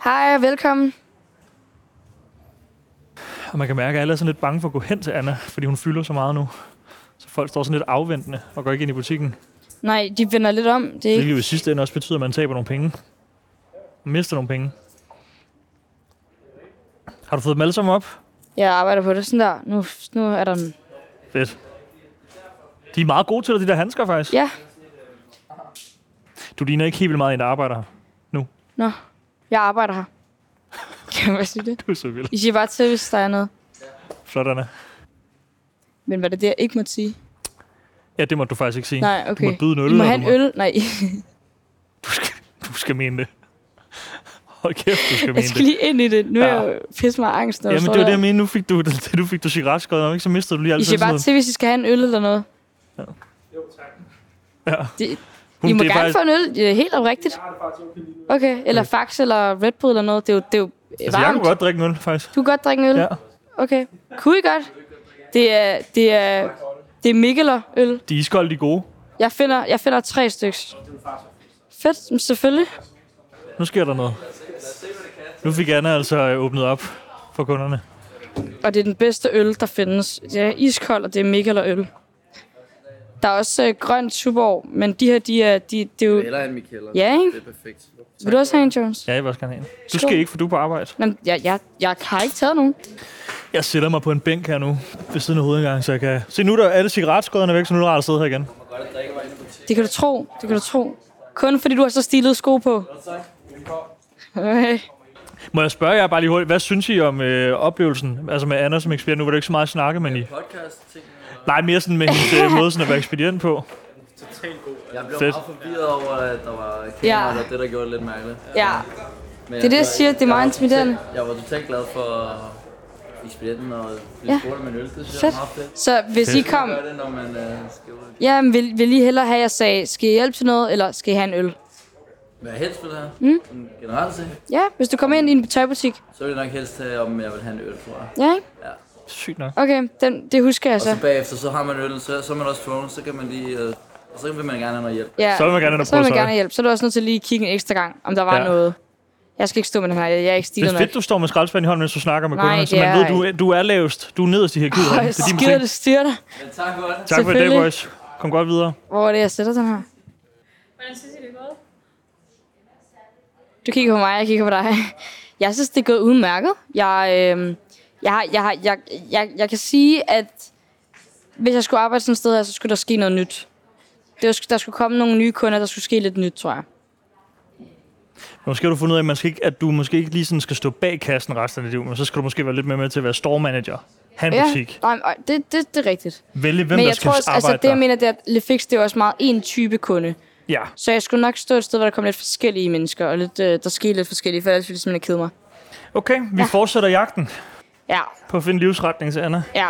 Hej, og velkommen.
Og man kan mærke, at alle er sådan lidt bange for at gå hen til Anna, fordi hun fylder så meget nu. Så folk står sådan lidt afventende og går ikke ind i butikken.
Nej, de vender lidt om. Det er ikke...
Hvilket jo i sidste ende også betyder, at man taber nogle penge. Man mister nogle penge. Har du fået dem alle sammen op?
Jeg arbejder på det sådan der. Nu, nu er der en...
Fedt. De er meget gode til det, de der handsker, faktisk.
Ja,
Du ligner ikke helt vildt meget en, der arbejder her.
nå. Jeg arbejder her. Kan man bare sige det?
Du er så vild.
I siger bare til, hvis der er noget.
Flot, Anna.
Men hvad er det, jeg ikke måtte sige?
Ja, det må du faktisk ikke sige.
Nej, okay.
Du må byde en øl.
I må
eller
have
du
en øl. Nej,
Du skal, du skal mene det. Hold kæft, du skal mene
jeg skal
det.
lige ind i det. Nu er
Ja.
jeg jo pisse mig af angst, når
Jamen,
står
det var det,
der.
jeg mente. Nu fik du, det, nu fik du cigaretskåret, og ikke så mistede du lige
I
alt
siger bare
selvtilliden.
til, hvis I skal have en øl eller noget.
Ja.
De,
Hun-
I må
det er
gerne
faktisk-
få en øl, det er helt oprigtigt. Okay, eller fax eller Red Bull eller noget. Det er jo, det er jo
Altså, jeg
varmt.
kunne godt drikke en øl, faktisk.
Du kan godt drikke en øl?
Ja.
Okay. Kunne I godt? Det er, det er, det er Mikkeler øl.
De er iskolde, de er gode.
Jeg finder, jeg finder tre stykker. Fedt, men selvfølgelig.
Nu sker der noget. Nu fik Anna altså øh, åbnet op for kunderne.
Og det er den bedste øl, der findes. Det er iskold, og det er Mikkeler øl. Der er også øh, grøn Tuborg, men de her, de er... De, det er jo...
Eller en Mikkeller.
Ja, ikke?
Det er perfekt.
Vil du også have en, Jones?
Ja, jeg vil også gerne have en. Du
Skål.
skal ikke, for du er på arbejde.
Nå, men jeg, jeg, jeg har ikke taget nogen.
Jeg sætter mig på en bænk her nu, ved siden af hovedindgangen, så jeg kan... Se, nu er der alle cigaretskoderne væk, så nu er det rart at sidde her igen.
Det kan du tro. Det kan du tro. Kun fordi du har så stilede sko på. Okay.
Må jeg spørge jer bare lige hurtigt, hvad synes I om øh, oplevelsen? Altså med Anna som ekspedient, nu var det ikke så meget snakke, men I...
Podcast ting.
Nej, mere sådan med hendes øh, måde sådan at være ekspedient på.
Jeg blev
Fedt.
meget forvirret over, at der var kamera, ja. og det der gjorde det lidt mærkeligt.
Ja.
Men
Det er det, jeg siger. Det er meget intimiderende.
Jeg var totalt glad for ekspedienten og
Ja.
blive ja. spurgt om en øl. Det synes jeg
Fedt.
er meget fedt.
Så hvis I kom...
Man gør det, når man øh, skal ud.
Jamen, vil, vil I hellere have, at jeg sagde, skal I hjælpe til noget, eller skal I have en øl?
Hvad jeg helst vil have, mm. generelt set,
Ja, hvis du kommer ind i en tøjbutik.
så vil jeg nok helst have, om jeg vil have en øl, tror jeg.
Ja, ikke?
Sygt nok.
Okay, den, det husker jeg
Og
så.
så bagefter, så har man øl, så, så er man også tvunget, så kan man lige... Øh, og så vil man gerne have noget hjælp.
Ja.
Så vil man gerne have noget
så vil man
brødtøj.
gerne hjælpe. Så er du også nødt til lige at kigge en ekstra gang, om der var
Ja.
ja. noget. Jeg skal ikke stå med den her, jeg er ikke
Det
stilet
er
nok.
fedt, du står med skraldespanden i hånden, mens du snakker med
Nej,
kunderne, så
det
man
er
ved, du, du er lavest. Du er nederst i hierarkiet.
Åh,
herinde.
jeg
Det er din
skider,
ting.
det styrer dig.
Men tak for det.
Tak for i dag,
Selvfølgelig.
boys. Kom godt videre.
Hvor er det, jeg sætter den her?
Hvordan synes I, det er gået?
Du kigger på mig, jeg kigger på dig. Jeg synes, det er gået udmærket. Jeg, øh, jeg, har- jeg, har- jeg, jeg, jeg kan sige, at hvis jeg skulle arbejde sådan et sted her, så skulle der ske noget nyt. Det var, der skulle komme nogle nye kunder, der skulle ske lidt nyt, tror jeg.
Måske har du fundet ud af, at, man skal ikke, at du måske ikke lige sådan skal stå bag kassen resten af dit liv, men så skal du måske være lidt mere med til at være store manager. Han butik.
nej, nej, det, det, det er rigtigt.
Vælge, hvem
Men
der
jeg
skal
tror også,
arbejde
altså, det jeg
der.
mener, det er, at Lefix, det er jo også meget en type kunde.
Ja,
Så jeg skulle nok stå et sted, hvor der kom lidt forskellige mennesker, og lidt, øh, der skete lidt forskellige, for ellers ville det simpelthen kede mig.
okay. Vi fortsætter jagten
Ja,
på at finde livsretning til Anna.
ja.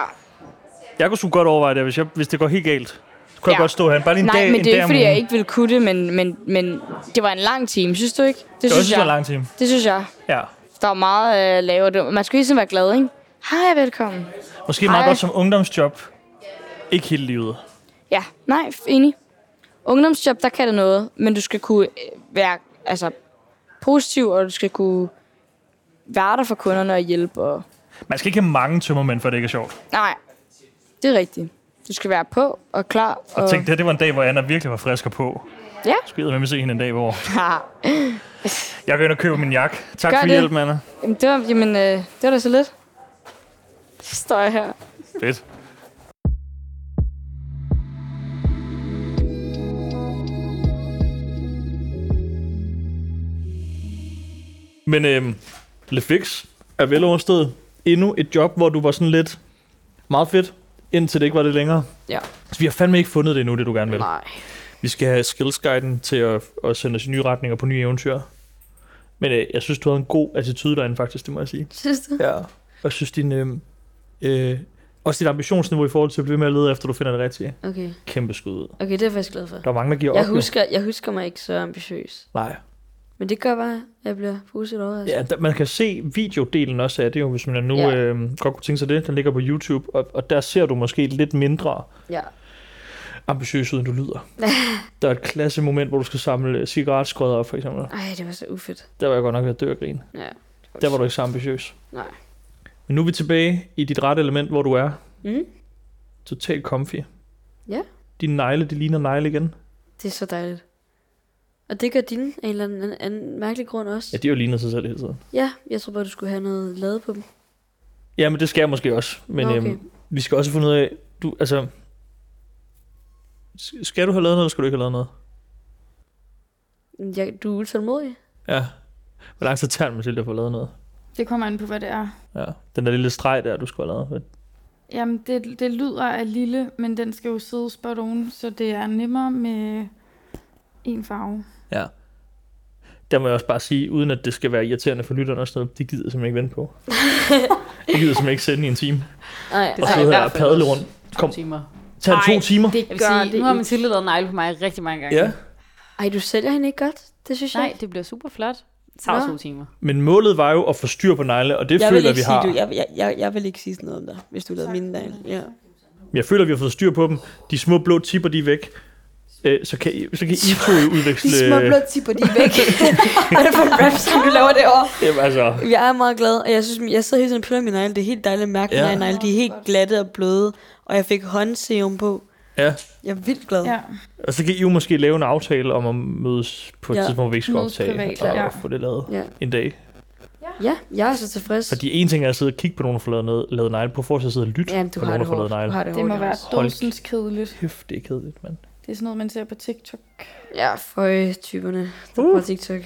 Jeg kunne sgu godt overveje det, hvis, jeg, hvis det går helt galt. Så kunne ja. jeg
Ja.
godt stå her. Bare lige en
Nej,
dag,
men
en
det er
dag
ikke,
om
fordi jeg
ugen.
ikke ville kunne det, men, men, men det var en lang time, synes du ikke? Det,
Det var også en lang time.
Det synes jeg.
Ja.
Der var meget øh, lavere. Det- Man skulle hele tiden være glad, ikke? Hej, velkommen.
Måske meget
Ej.
godt som ungdomsjob. Ikke hele livet.
Ja, nej, f- enig. Ungdomsjob, der kan det noget, men du skal kunne øh, være altså, positiv, og du skal kunne være der for kunderne og hjælpe. Og...
Man skal ikke have mange tømmermænd, for det ikke er sjovt.
Nej, det er rigtigt. Du skal være på og klar.
Og tænk, det her det var en dag, hvor Anna virkelig var frisk og på.
Øh. Ja.
Skulle jeg med se hende en dag, hvor...
Ja.
Jeg går ind og køber min jakke. Tak
Gør
for
det.
hjælpen, Anna.
Jamen, det var, jamen, øh, det var da så lidt. Så står jeg her.
Fedt. Men øhm, Lefix er vel overstået endnu et job, hvor du var sådan lidt meget fedt, indtil det ikke var det længere.
Ja.
Så vi har fandme ikke fundet det endnu, det du gerne vil.
Nej.
Vi skal have skillsguiden til at, at sende os i nye retninger på nye eventyr. Men øh, jeg synes, du havde en god attitude derinde faktisk, det må jeg sige.
Synes du?
Ja. Og jeg synes, din, øh, øh, også dit ambitionsniveau i forhold til at blive ved med at lede efter, du finder det rigtige.
Okay.
Kæmpe skud ud.
Okay, det er jeg faktisk glad for.
Der er mange, der giver op.
Jeg
jo.
husker, jeg husker mig ikke så ambitiøs.
Nej.
Men det gør bare, at jeg bliver altså. positivt overrasket.
Ja, der, man kan se videodelen også af det, jo, hvis man nu
Ja.
ja. øh, godt kunne tænke sig det. Den ligger på YouTube, og, og der ser du måske lidt mindre
Ja.
ambitiøs ud, end du lyder. der er et klasse moment, hvor du skal samle øh, cigaretskodder op, for eksempel.
Ej, det var så ufedt.
Der var jeg godt nok ved at dø af grin.
Ja.
Der var du ikke så ambitiøs.
Nej.
Men nu er vi tilbage i dit rette element, hvor du er.
Mhm.
Totalt comfy.
Ja.
Dine negle, de ligner negle igen.
Det er så dejligt. Og det gør dine af en eller anden, anden mærkelig grund også.
Ja, de har jo lignet sig selv hele tiden.
Ja, jeg tror bare, du skulle have noget lavet på dem.
Ja, men det skal jeg måske også. Men
Nå,
okay.
okay.
øhm, vi skal også finde ud af, du, altså, s- skal du have lavet noget, eller skal du ikke have lavet noget?
Jeg, du er utålmodig.
Ja. Hvor lang tid tager det, Mathilde, at få lavet noget?
Det kommer an på, hvad det er.
Ja. Den der lille streg der, du skulle have lavet. men
Jamen, det, det lyder af lille, men den skal jo sidde spot on, så det er nemmere med en farve.
Der må jeg også bare sige, uden at det skal være irriterende for lytterne og sådan noget, det gider jeg simpelthen ikke vente på. Jeg gider simpelthen ikke sende i en time.
Nej,
Og
tager
sidde
i
her
hvert
og
fald
padle
også
rundt. Kom,
timer.
tag
Ej,
to timer.
Det
Jeg vil sige, nu har man tilladt negle på mig rigtig mange gange.
Ja.
Ej, du sælger hende ikke godt. Det synes
Nej,
jeg.
det bliver super flot. Det tager
Nå.
to timer.
Men målet var jo at få styr på negle, og det
jeg vil
føler
ikke
vi
sige,
har.
du, jeg, jeg, jeg, jeg vil ikke sige sådan noget om dig, hvis du lavede mine dage. Ja.
Jeg føler, vi har fået styr på dem. De små blå tipper, de er væk. Øh, så, kan I, så kan I to jo udveksle...
De små blå tipper, de er væk. Hvad er det for en rap, som du laver derovre?
Jamen, altså,
Jeg er meget glad, og jeg synes, jeg sidder hele tiden og piller mine negle. Det er helt dejligt at mærke
Ja.
ja. mine negle. De er helt glatte og bløde, og jeg fik håndserum på.
Ja,
Jeg er vildt glad.
Ja.
og så kan I jo måske lave en aftale om at mødes på et
Ja.
ja. tidspunkt, hvor vi ikke skal
Mødes
optage,
privat,
og
ja.
få det lavet
Ja.
en dag.
ja, jeg er så tilfreds.
Fordi en ting er at sidde og kigge på nogen, der får lavet, noget, lavet negle. Prøv at fortsætte at sidde og lytte
Jamen, du
på
har
nogen,
det
der får
hårdt.
lavet
Du
negle.
har det
Det må
hårdt.
være
Jonas.
Hold-
dåsens kedeligt.
Kæft, det er kedeligt, mand.
Det er sådan noget, man ser på TikTok.
Ja, for typerne, der uh. bruger TikTok.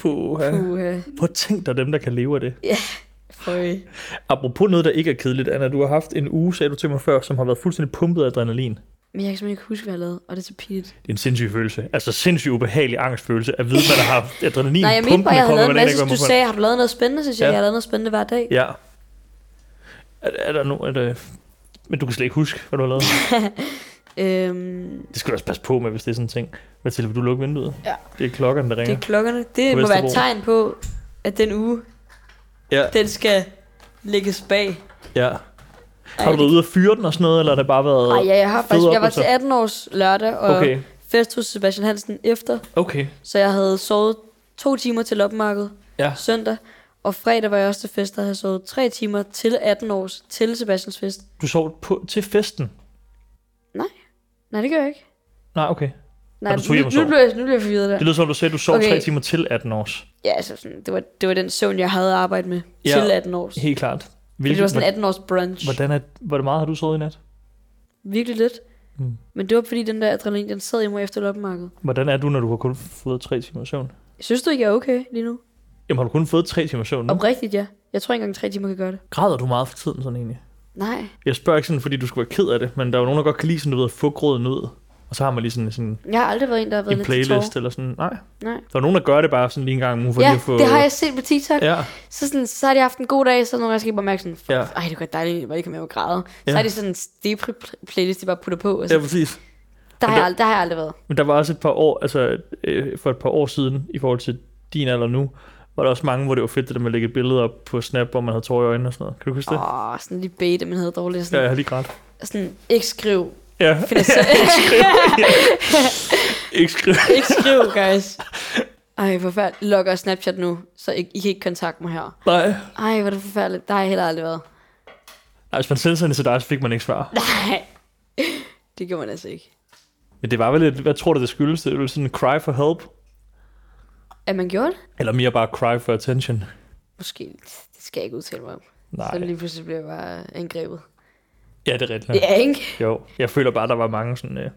Puha.
Puha.
Prøv at tænk dig dem, der kan leve af det.
Føj.
Apropos noget, der ikke er kedeligt, Anna. Du har haft en uge, sagde du til mig før, som har været fuldstændig pumpet af adrenalin.
Men jeg kan simpelthen ikke huske, hvad jeg lavede, og det er så pinligt.
Det er en sindssyg følelse. Altså sindssyg ubehagelig angstfølelse at vide, hvad der har haft adrenalin
Nej, jeg mente
pumpende
bare, jeg
på,
havde lavet en
hvordan det
masse.
gør
Du
mig på-
sagde, har du lavet noget spændende, synes jeg.
Ja.
Jeg har lavet noget spændende hver dag.
Ja. Er, er der nogen... Er der... Men du kan slet ikke huske, hvad du har lavet.
Øhm,
Det skal du også passe på med, hvis det er sådan en ting. Mathilde, vil du lukke vinduet?
Ja.
Det er klokkerne, der
det
ringer.
er klokkerne. Det
På
må være et
Vesterbro.
tegn på, at den uge,
Ja.
den skal lægges bag.
Ja. Har
Ej,
du været ude og fyre den og sådan noget, eller har det bare været...
Nej, ja, jeg har
fede
faktisk, jeg var til
oplevelser?
18 års lørdag, og okay.
Okay,
fest hos Sebastian Hansen efter,
okay.
så jeg havde sovet to timer til loppemarkedet
Ja.
søndag, og fredag var jeg også til fest, der havde sovet tre timer til 18 års til Sebastians fest.
Du sov på, til festen?
Nej, det gør jeg ikke.
Nej, okay.
Nej,
Og du tog hjem
nu,
og
nu,
sov?
blev jeg, nu blev jeg forvirret der.
Det lyder som, om, du sagde, at du sov
Okay.
okay. tre timer til 18 års.
Ja, altså sådan, det var, det var den søvn, jeg havde arbejdet med ja.
Ja.
til 18 års.
Helt klart.
Fordi det var sådan
hvordan,
18 års brunch.
hvordan er, hvor meget har du sovet i nat?
Virkelig lidt.
Mm.
Men det var fordi, den der adrenalin, den sad i mig efter loppemarkedet.
Hvordan er du, når du har kun fået tre timer søvn?
Synes du ikke, jeg er okay lige nu? Mm.
Jamen, har du kun fået tre timer søvn nu?
Oprigtigt, ja. Jeg tror ikke engang, tre timer kan gøre det.
Græder du meget for tiden sådan egentlig?
Nej.
Jeg spørger ikke sådan, fordi du skulle være ked af det, men der er jo nogen, der godt kan lide sådan, du ved, at få gråden ud. Og så har man lige sådan, sådan
Jeg har aldrig været en, der har været
en
lidt til tårer.
playlist eller sådan. Nej.
Nej.
Der er nogen, der gør det bare sådan lige en gang om ugen, for
Ja,
lige at få...
det har jeg set på TikTok. Ja.
Ja,
Så, sådan, så har de haft en god dag, så nogle gange skal jeg bare mærke sådan,
ja.
ej, det var dejligt, hvor ikke kan med at græde. Så
Ja.
er det sådan en depri-playlist, de bare putter på. Og
ja,
så,
præcis.
der, har
men
jeg, ald- der har jeg aldrig været.
Men der var også et par år, altså øh, for et par år siden, i forhold til din alder nu, var der også mange, hvor det var fedt, det der med at lægge et billede op på Snap, hvor man havde tårer i øjnene og sådan noget. Kan du huske det?
Åh, sådan lige beta, man havde dårligt.
Ja, jeg
Sådan,
har lige grædt.
ja. sådan ikke skriv.
Ja,
Finansier-
ikke skrive.
ikke skriv, guys. Ej, forfærdeligt. Logger Snapchat nu, så I, I kan ikke kontakte mig her.
Nej.
Ej, hvor er det forfærdeligt. Der har jeg heller aldrig været.
Nej, hvis man sendte sådan til dig, så fik man ikke svar.
Nej. Det kan man altså ikke.
Men det var vel et, hvad tror du, det skyldes? Det var sådan en cry for help?
Er man gjort?
Eller mere bare cry for attention?
Måske. Det skal jeg ikke udtale mig om.
Nej.
Så lige pludselig bliver jeg bare angrebet.
Ja, det er rigtigt.
Ja, ikke?
Jo, jeg føler bare, der var mange sådan... Øh,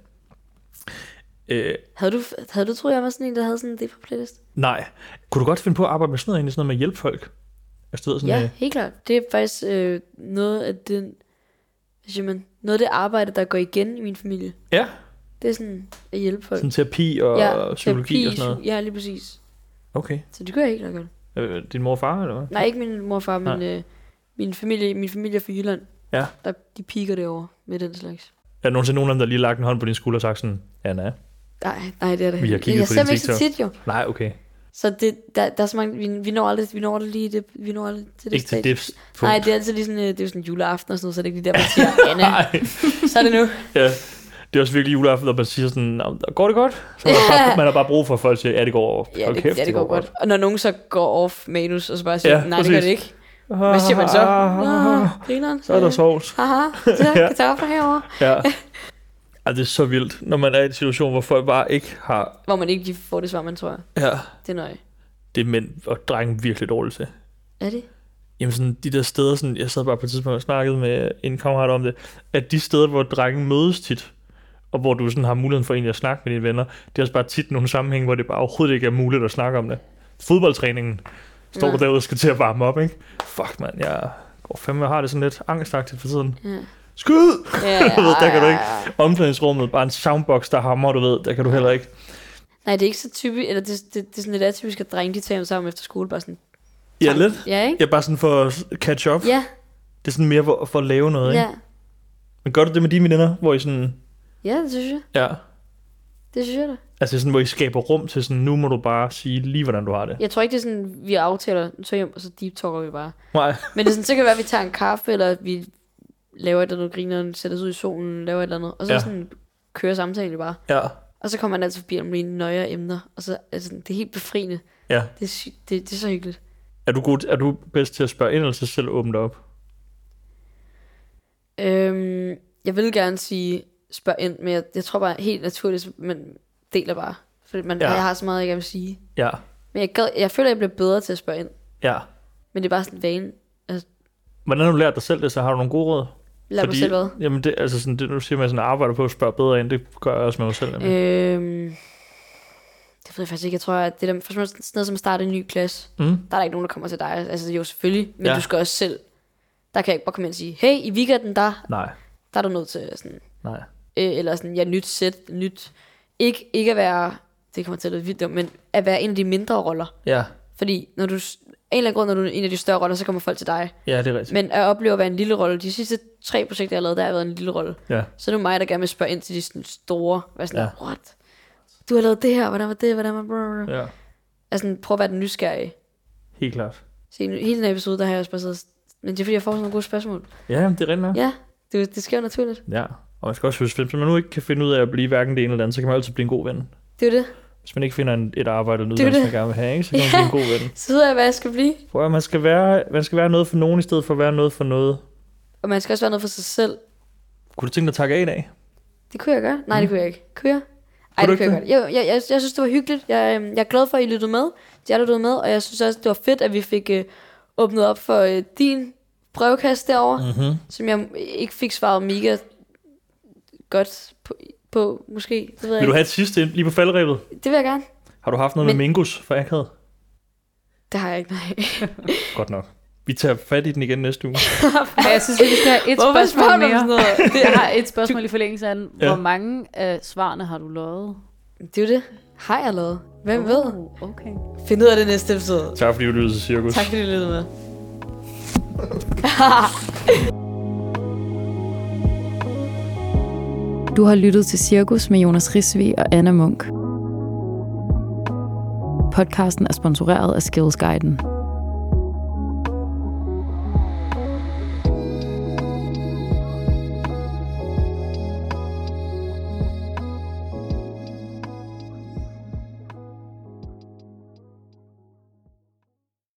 øh,
Havde du, havde du troet, jeg var sådan en, der havde sådan en depra playlist?
nej. Kunne du godt finde på at arbejde med sådan noget, egentlig, sådan noget med at hjælpe folk? Altså, du ved, sådan,
Ja,
øh,
helt klart. Det er faktisk øh, noget af den... Hvad siger man? Noget af det arbejde, der går igen i min familie.
ja,
Det er sådan at hjælpe folk.
sådan terapi og ja, psykologi
terapi,
og sådan noget.
psy- Ja, lige præcis.
Okay.
Så det gør jeg helt klart godt.
Øh, din mor og far, eller hvad?
Nej, ikke min mor og far, men øh, min, familie, min familie er fra Jylland.
Ja.
Der, de piker det over med den slags.
Er der nogensinde nogen af dem, der lige lagt en hånd på din skulder og sagt sådan, Anna?
Nej, nej, det er det.
Vi har
Men
kigget
jeg
på
ser
din
dem ikke så
TikTok.
tit jo.
Nej, okay.
Så det, der, der er så mange, vi, vi når aldrig, vi når aldrig lige det, vi når aldrig til det
Ikke til
stadie.
det punkt.
Nej, det er altid lige sådan, øh, det er jo sådan juleaften og sådan noget, så det er ikke lige der, man siger, Anna,
Nej,
så er det nu.
ja. Det er også virkelig juleaften, når man siger sådan, "Nå, går det godt? Så man, har bare, man har bare brug for, at folk siger, ja, det går over.
Ja, det, ja, det går godt. Og når nogen så går off manus, og så bare siger, ja,
Ja,
nej, det gør
præcis. Ah,
det ikke. Hvad siger man så? Nå, grineren.
Så er der sovs.
Haha, så
Ja.
kartofler herovre.
Ja. Ej, det er så vildt, når man er i en situation, hvor folk bare ikke har...
Hvor man ikke lige får det svar, man tror.
Ja.
Det er nøje.
Det er mænd og drenge virkelig dårligt til.
Er det?
Jamen sådan de der steder, sådan, jeg sad bare på et tidspunkt og snakkede med en kammerat om det, at de steder, hvor drenge mødes tit, og hvor du sådan har muligheden for egentlig at snakke med dine venner, det er også bare tit nogle sammenhæng, hvor det bare overhovedet ikke er muligt at snakke om det. Fodboldtræningen står du derude og skal til at varme op, ikke? Fuck, mand, jeg går fandme jeg har det sådan lidt angstagtigt for tiden.
Ja.
Skyd!
Ja,
Du ved, der kan du ikke. Omklædningsrummet, bare en soundbox, der hammer, du ved, der kan du heller ikke.
Nej, det er ikke så typisk, eller det, det, det er sådan lidt atypisk, at drenge, de tager sammen efter skole, bare sådan,
Ja, lidt.
ja, ikke?
Ja, bare sådan for at catch up.
Ja,
Det er sådan mere for, for at lave noget, ikke?
ja.
Men gør du det med dine veninder, hvor I sådan...
Ja, det synes jeg.
Ja.
Det synes jeg da.
Altså sådan, hvor I skaber rum til sådan, nu må du bare sige lige, hvordan du har det.
Jeg tror ikke, det er sådan, vi aftaler, nu tager jeg hjem, og så deep talker vi bare.
Nej.
Men det er sådan, så kan det være, at vi tager en kaffe, eller at vi laver et eller andet, griner, sætter os ud i solen, laver et eller andet. Og så ja.
Ja.
sådan, kører samtalen bare.
Ja.
Og så kommer man altid forbi om mine nøjere emner. Og så altså, det er helt befriende.
Ja.
Det er, sy- det, det er så hyggeligt.
Er du, god, er du bedst til at spørge ind, eller til selv åbne dig op?
Øhm, jeg vil gerne sige, spørger ind, men jeg, jeg tror bare helt naturligt, så man deler bare. Fordi man,
Ja.
ja. jeg har så meget, jeg gerne vil sige.
Ja,
Men jeg, gad, jeg føler, jeg bliver bedre til at spørge ind.
ja.
Men det er bare sådan en vane.
Hvordan har du lært dig selv det, så har du nogle gode råd?
Lad mig selv hvad.
Jamen, det, altså sådan, det, nu siger man sådan, arbejder på at spørge bedre ind, det gør jeg også med mig selv. Øh.
Øhm, det ved jeg faktisk ikke. Jeg tror, at det der, for eksempel sådan noget som at starte en ny klasse,
Mm.
der er der ikke nogen, der kommer til dig. Altså jo, selvfølgelig, men
Ja.
ja. du skal også selv. Der kan jeg ikke bare komme ind og sige, hey, i weekenden, der,
Nej,
der er du nødt til sådan,
nej.
øh, eller sådan, ja, nyt sæt, nyt. Ikke, ikke at være, det kommer til at lyde vildt dumt, men at være en af de mindre roller.
Ja,
Fordi når du, s- af en eller anden grund, når du er en af de større roller, så kommer folk til dig.
ja det er rigtigt.
Men at opleve at være en lille rolle, de sidste tre projekter, jeg har lavet, der har jeg været en lille rolle.
Ja.
Så er det jo mig, der gerne vil spørge ind til de sådan store. Være sådan,
Ja.
ja. what? Du har lavet det her, hvordan var det, hvordan var det? Ja.
Ja,
Altså, prøv at være den nysgerrige.
helt klart.
Så i hele den her episode, der har jeg også bare siddet, men det er fordi, jeg får sådan nogle gode spørgsmål.
Ja, jamen, det er rigtigt nok.
Ja, det, det sker jo naturligt.
Ja. Og man skal også huske, hvis man nu ikke kan finde ud af at blive hverken det ene eller det andet, så kan man altid blive en god ven.
Det er jo det.
Hvis man ikke finder en, et arbejde eller en
Det er
uddannelse, man
det.
gerne vil have, ikke? så kan man blive en god ven.
Så ved jeg, hvad jeg skal blive.
Prøv at man skal, være, man skal være noget for nogen, i stedet for at være noget for noget.
Og man skal også være noget for sig selv.
Kunne du tænke dig at takke af i dag?
Det kunne jeg gøre. Nej, det kunne jeg ikke. Kunne jeg? Ej,
Mm. Kunne
det
du
kunne jeg
ikke
godt. Jo, jeg, jeg, jeg synes, det var hyggeligt. Jeg, øhm, jeg er glad for, at I lyttede med. Jeg lyttede med, og jeg synes også, det var fedt, at vi fik øh, åbnet op for øh, din brevkast derovre,
Mhm.
som jeg ikke fik svaret mega godt på, på måske. Det ved jeg
Vil du
ikke.
have et sidste ind, lige på faldrebet?
Det vil jeg gerne.
Har du haft noget Men... med
Men-
Mingus for akavet?
Det har jeg ikke, nej.
Godt nok. Vi tager fat i den igen næste uge.
Ja, jeg synes, lige, vi skal have et
Hvorfor spørger
spørgsmål
du om sådan
mere.
noget?
Jeg har et spørgsmål i forlængelse af den.
Ja.
Hvor mange af svarene har du lovet?
Det er jo det. Har jeg lavet? Hvem ved?
Uh, okay.
Find ud af det næste episode.
tak fordi du lyttede til Cirkus.
Tak fordi du lyttede med.
Du har lyttet til Cirkus med Jonas Risvi og Anna Munk. Podcasten er sponsoreret af Skillsguiden.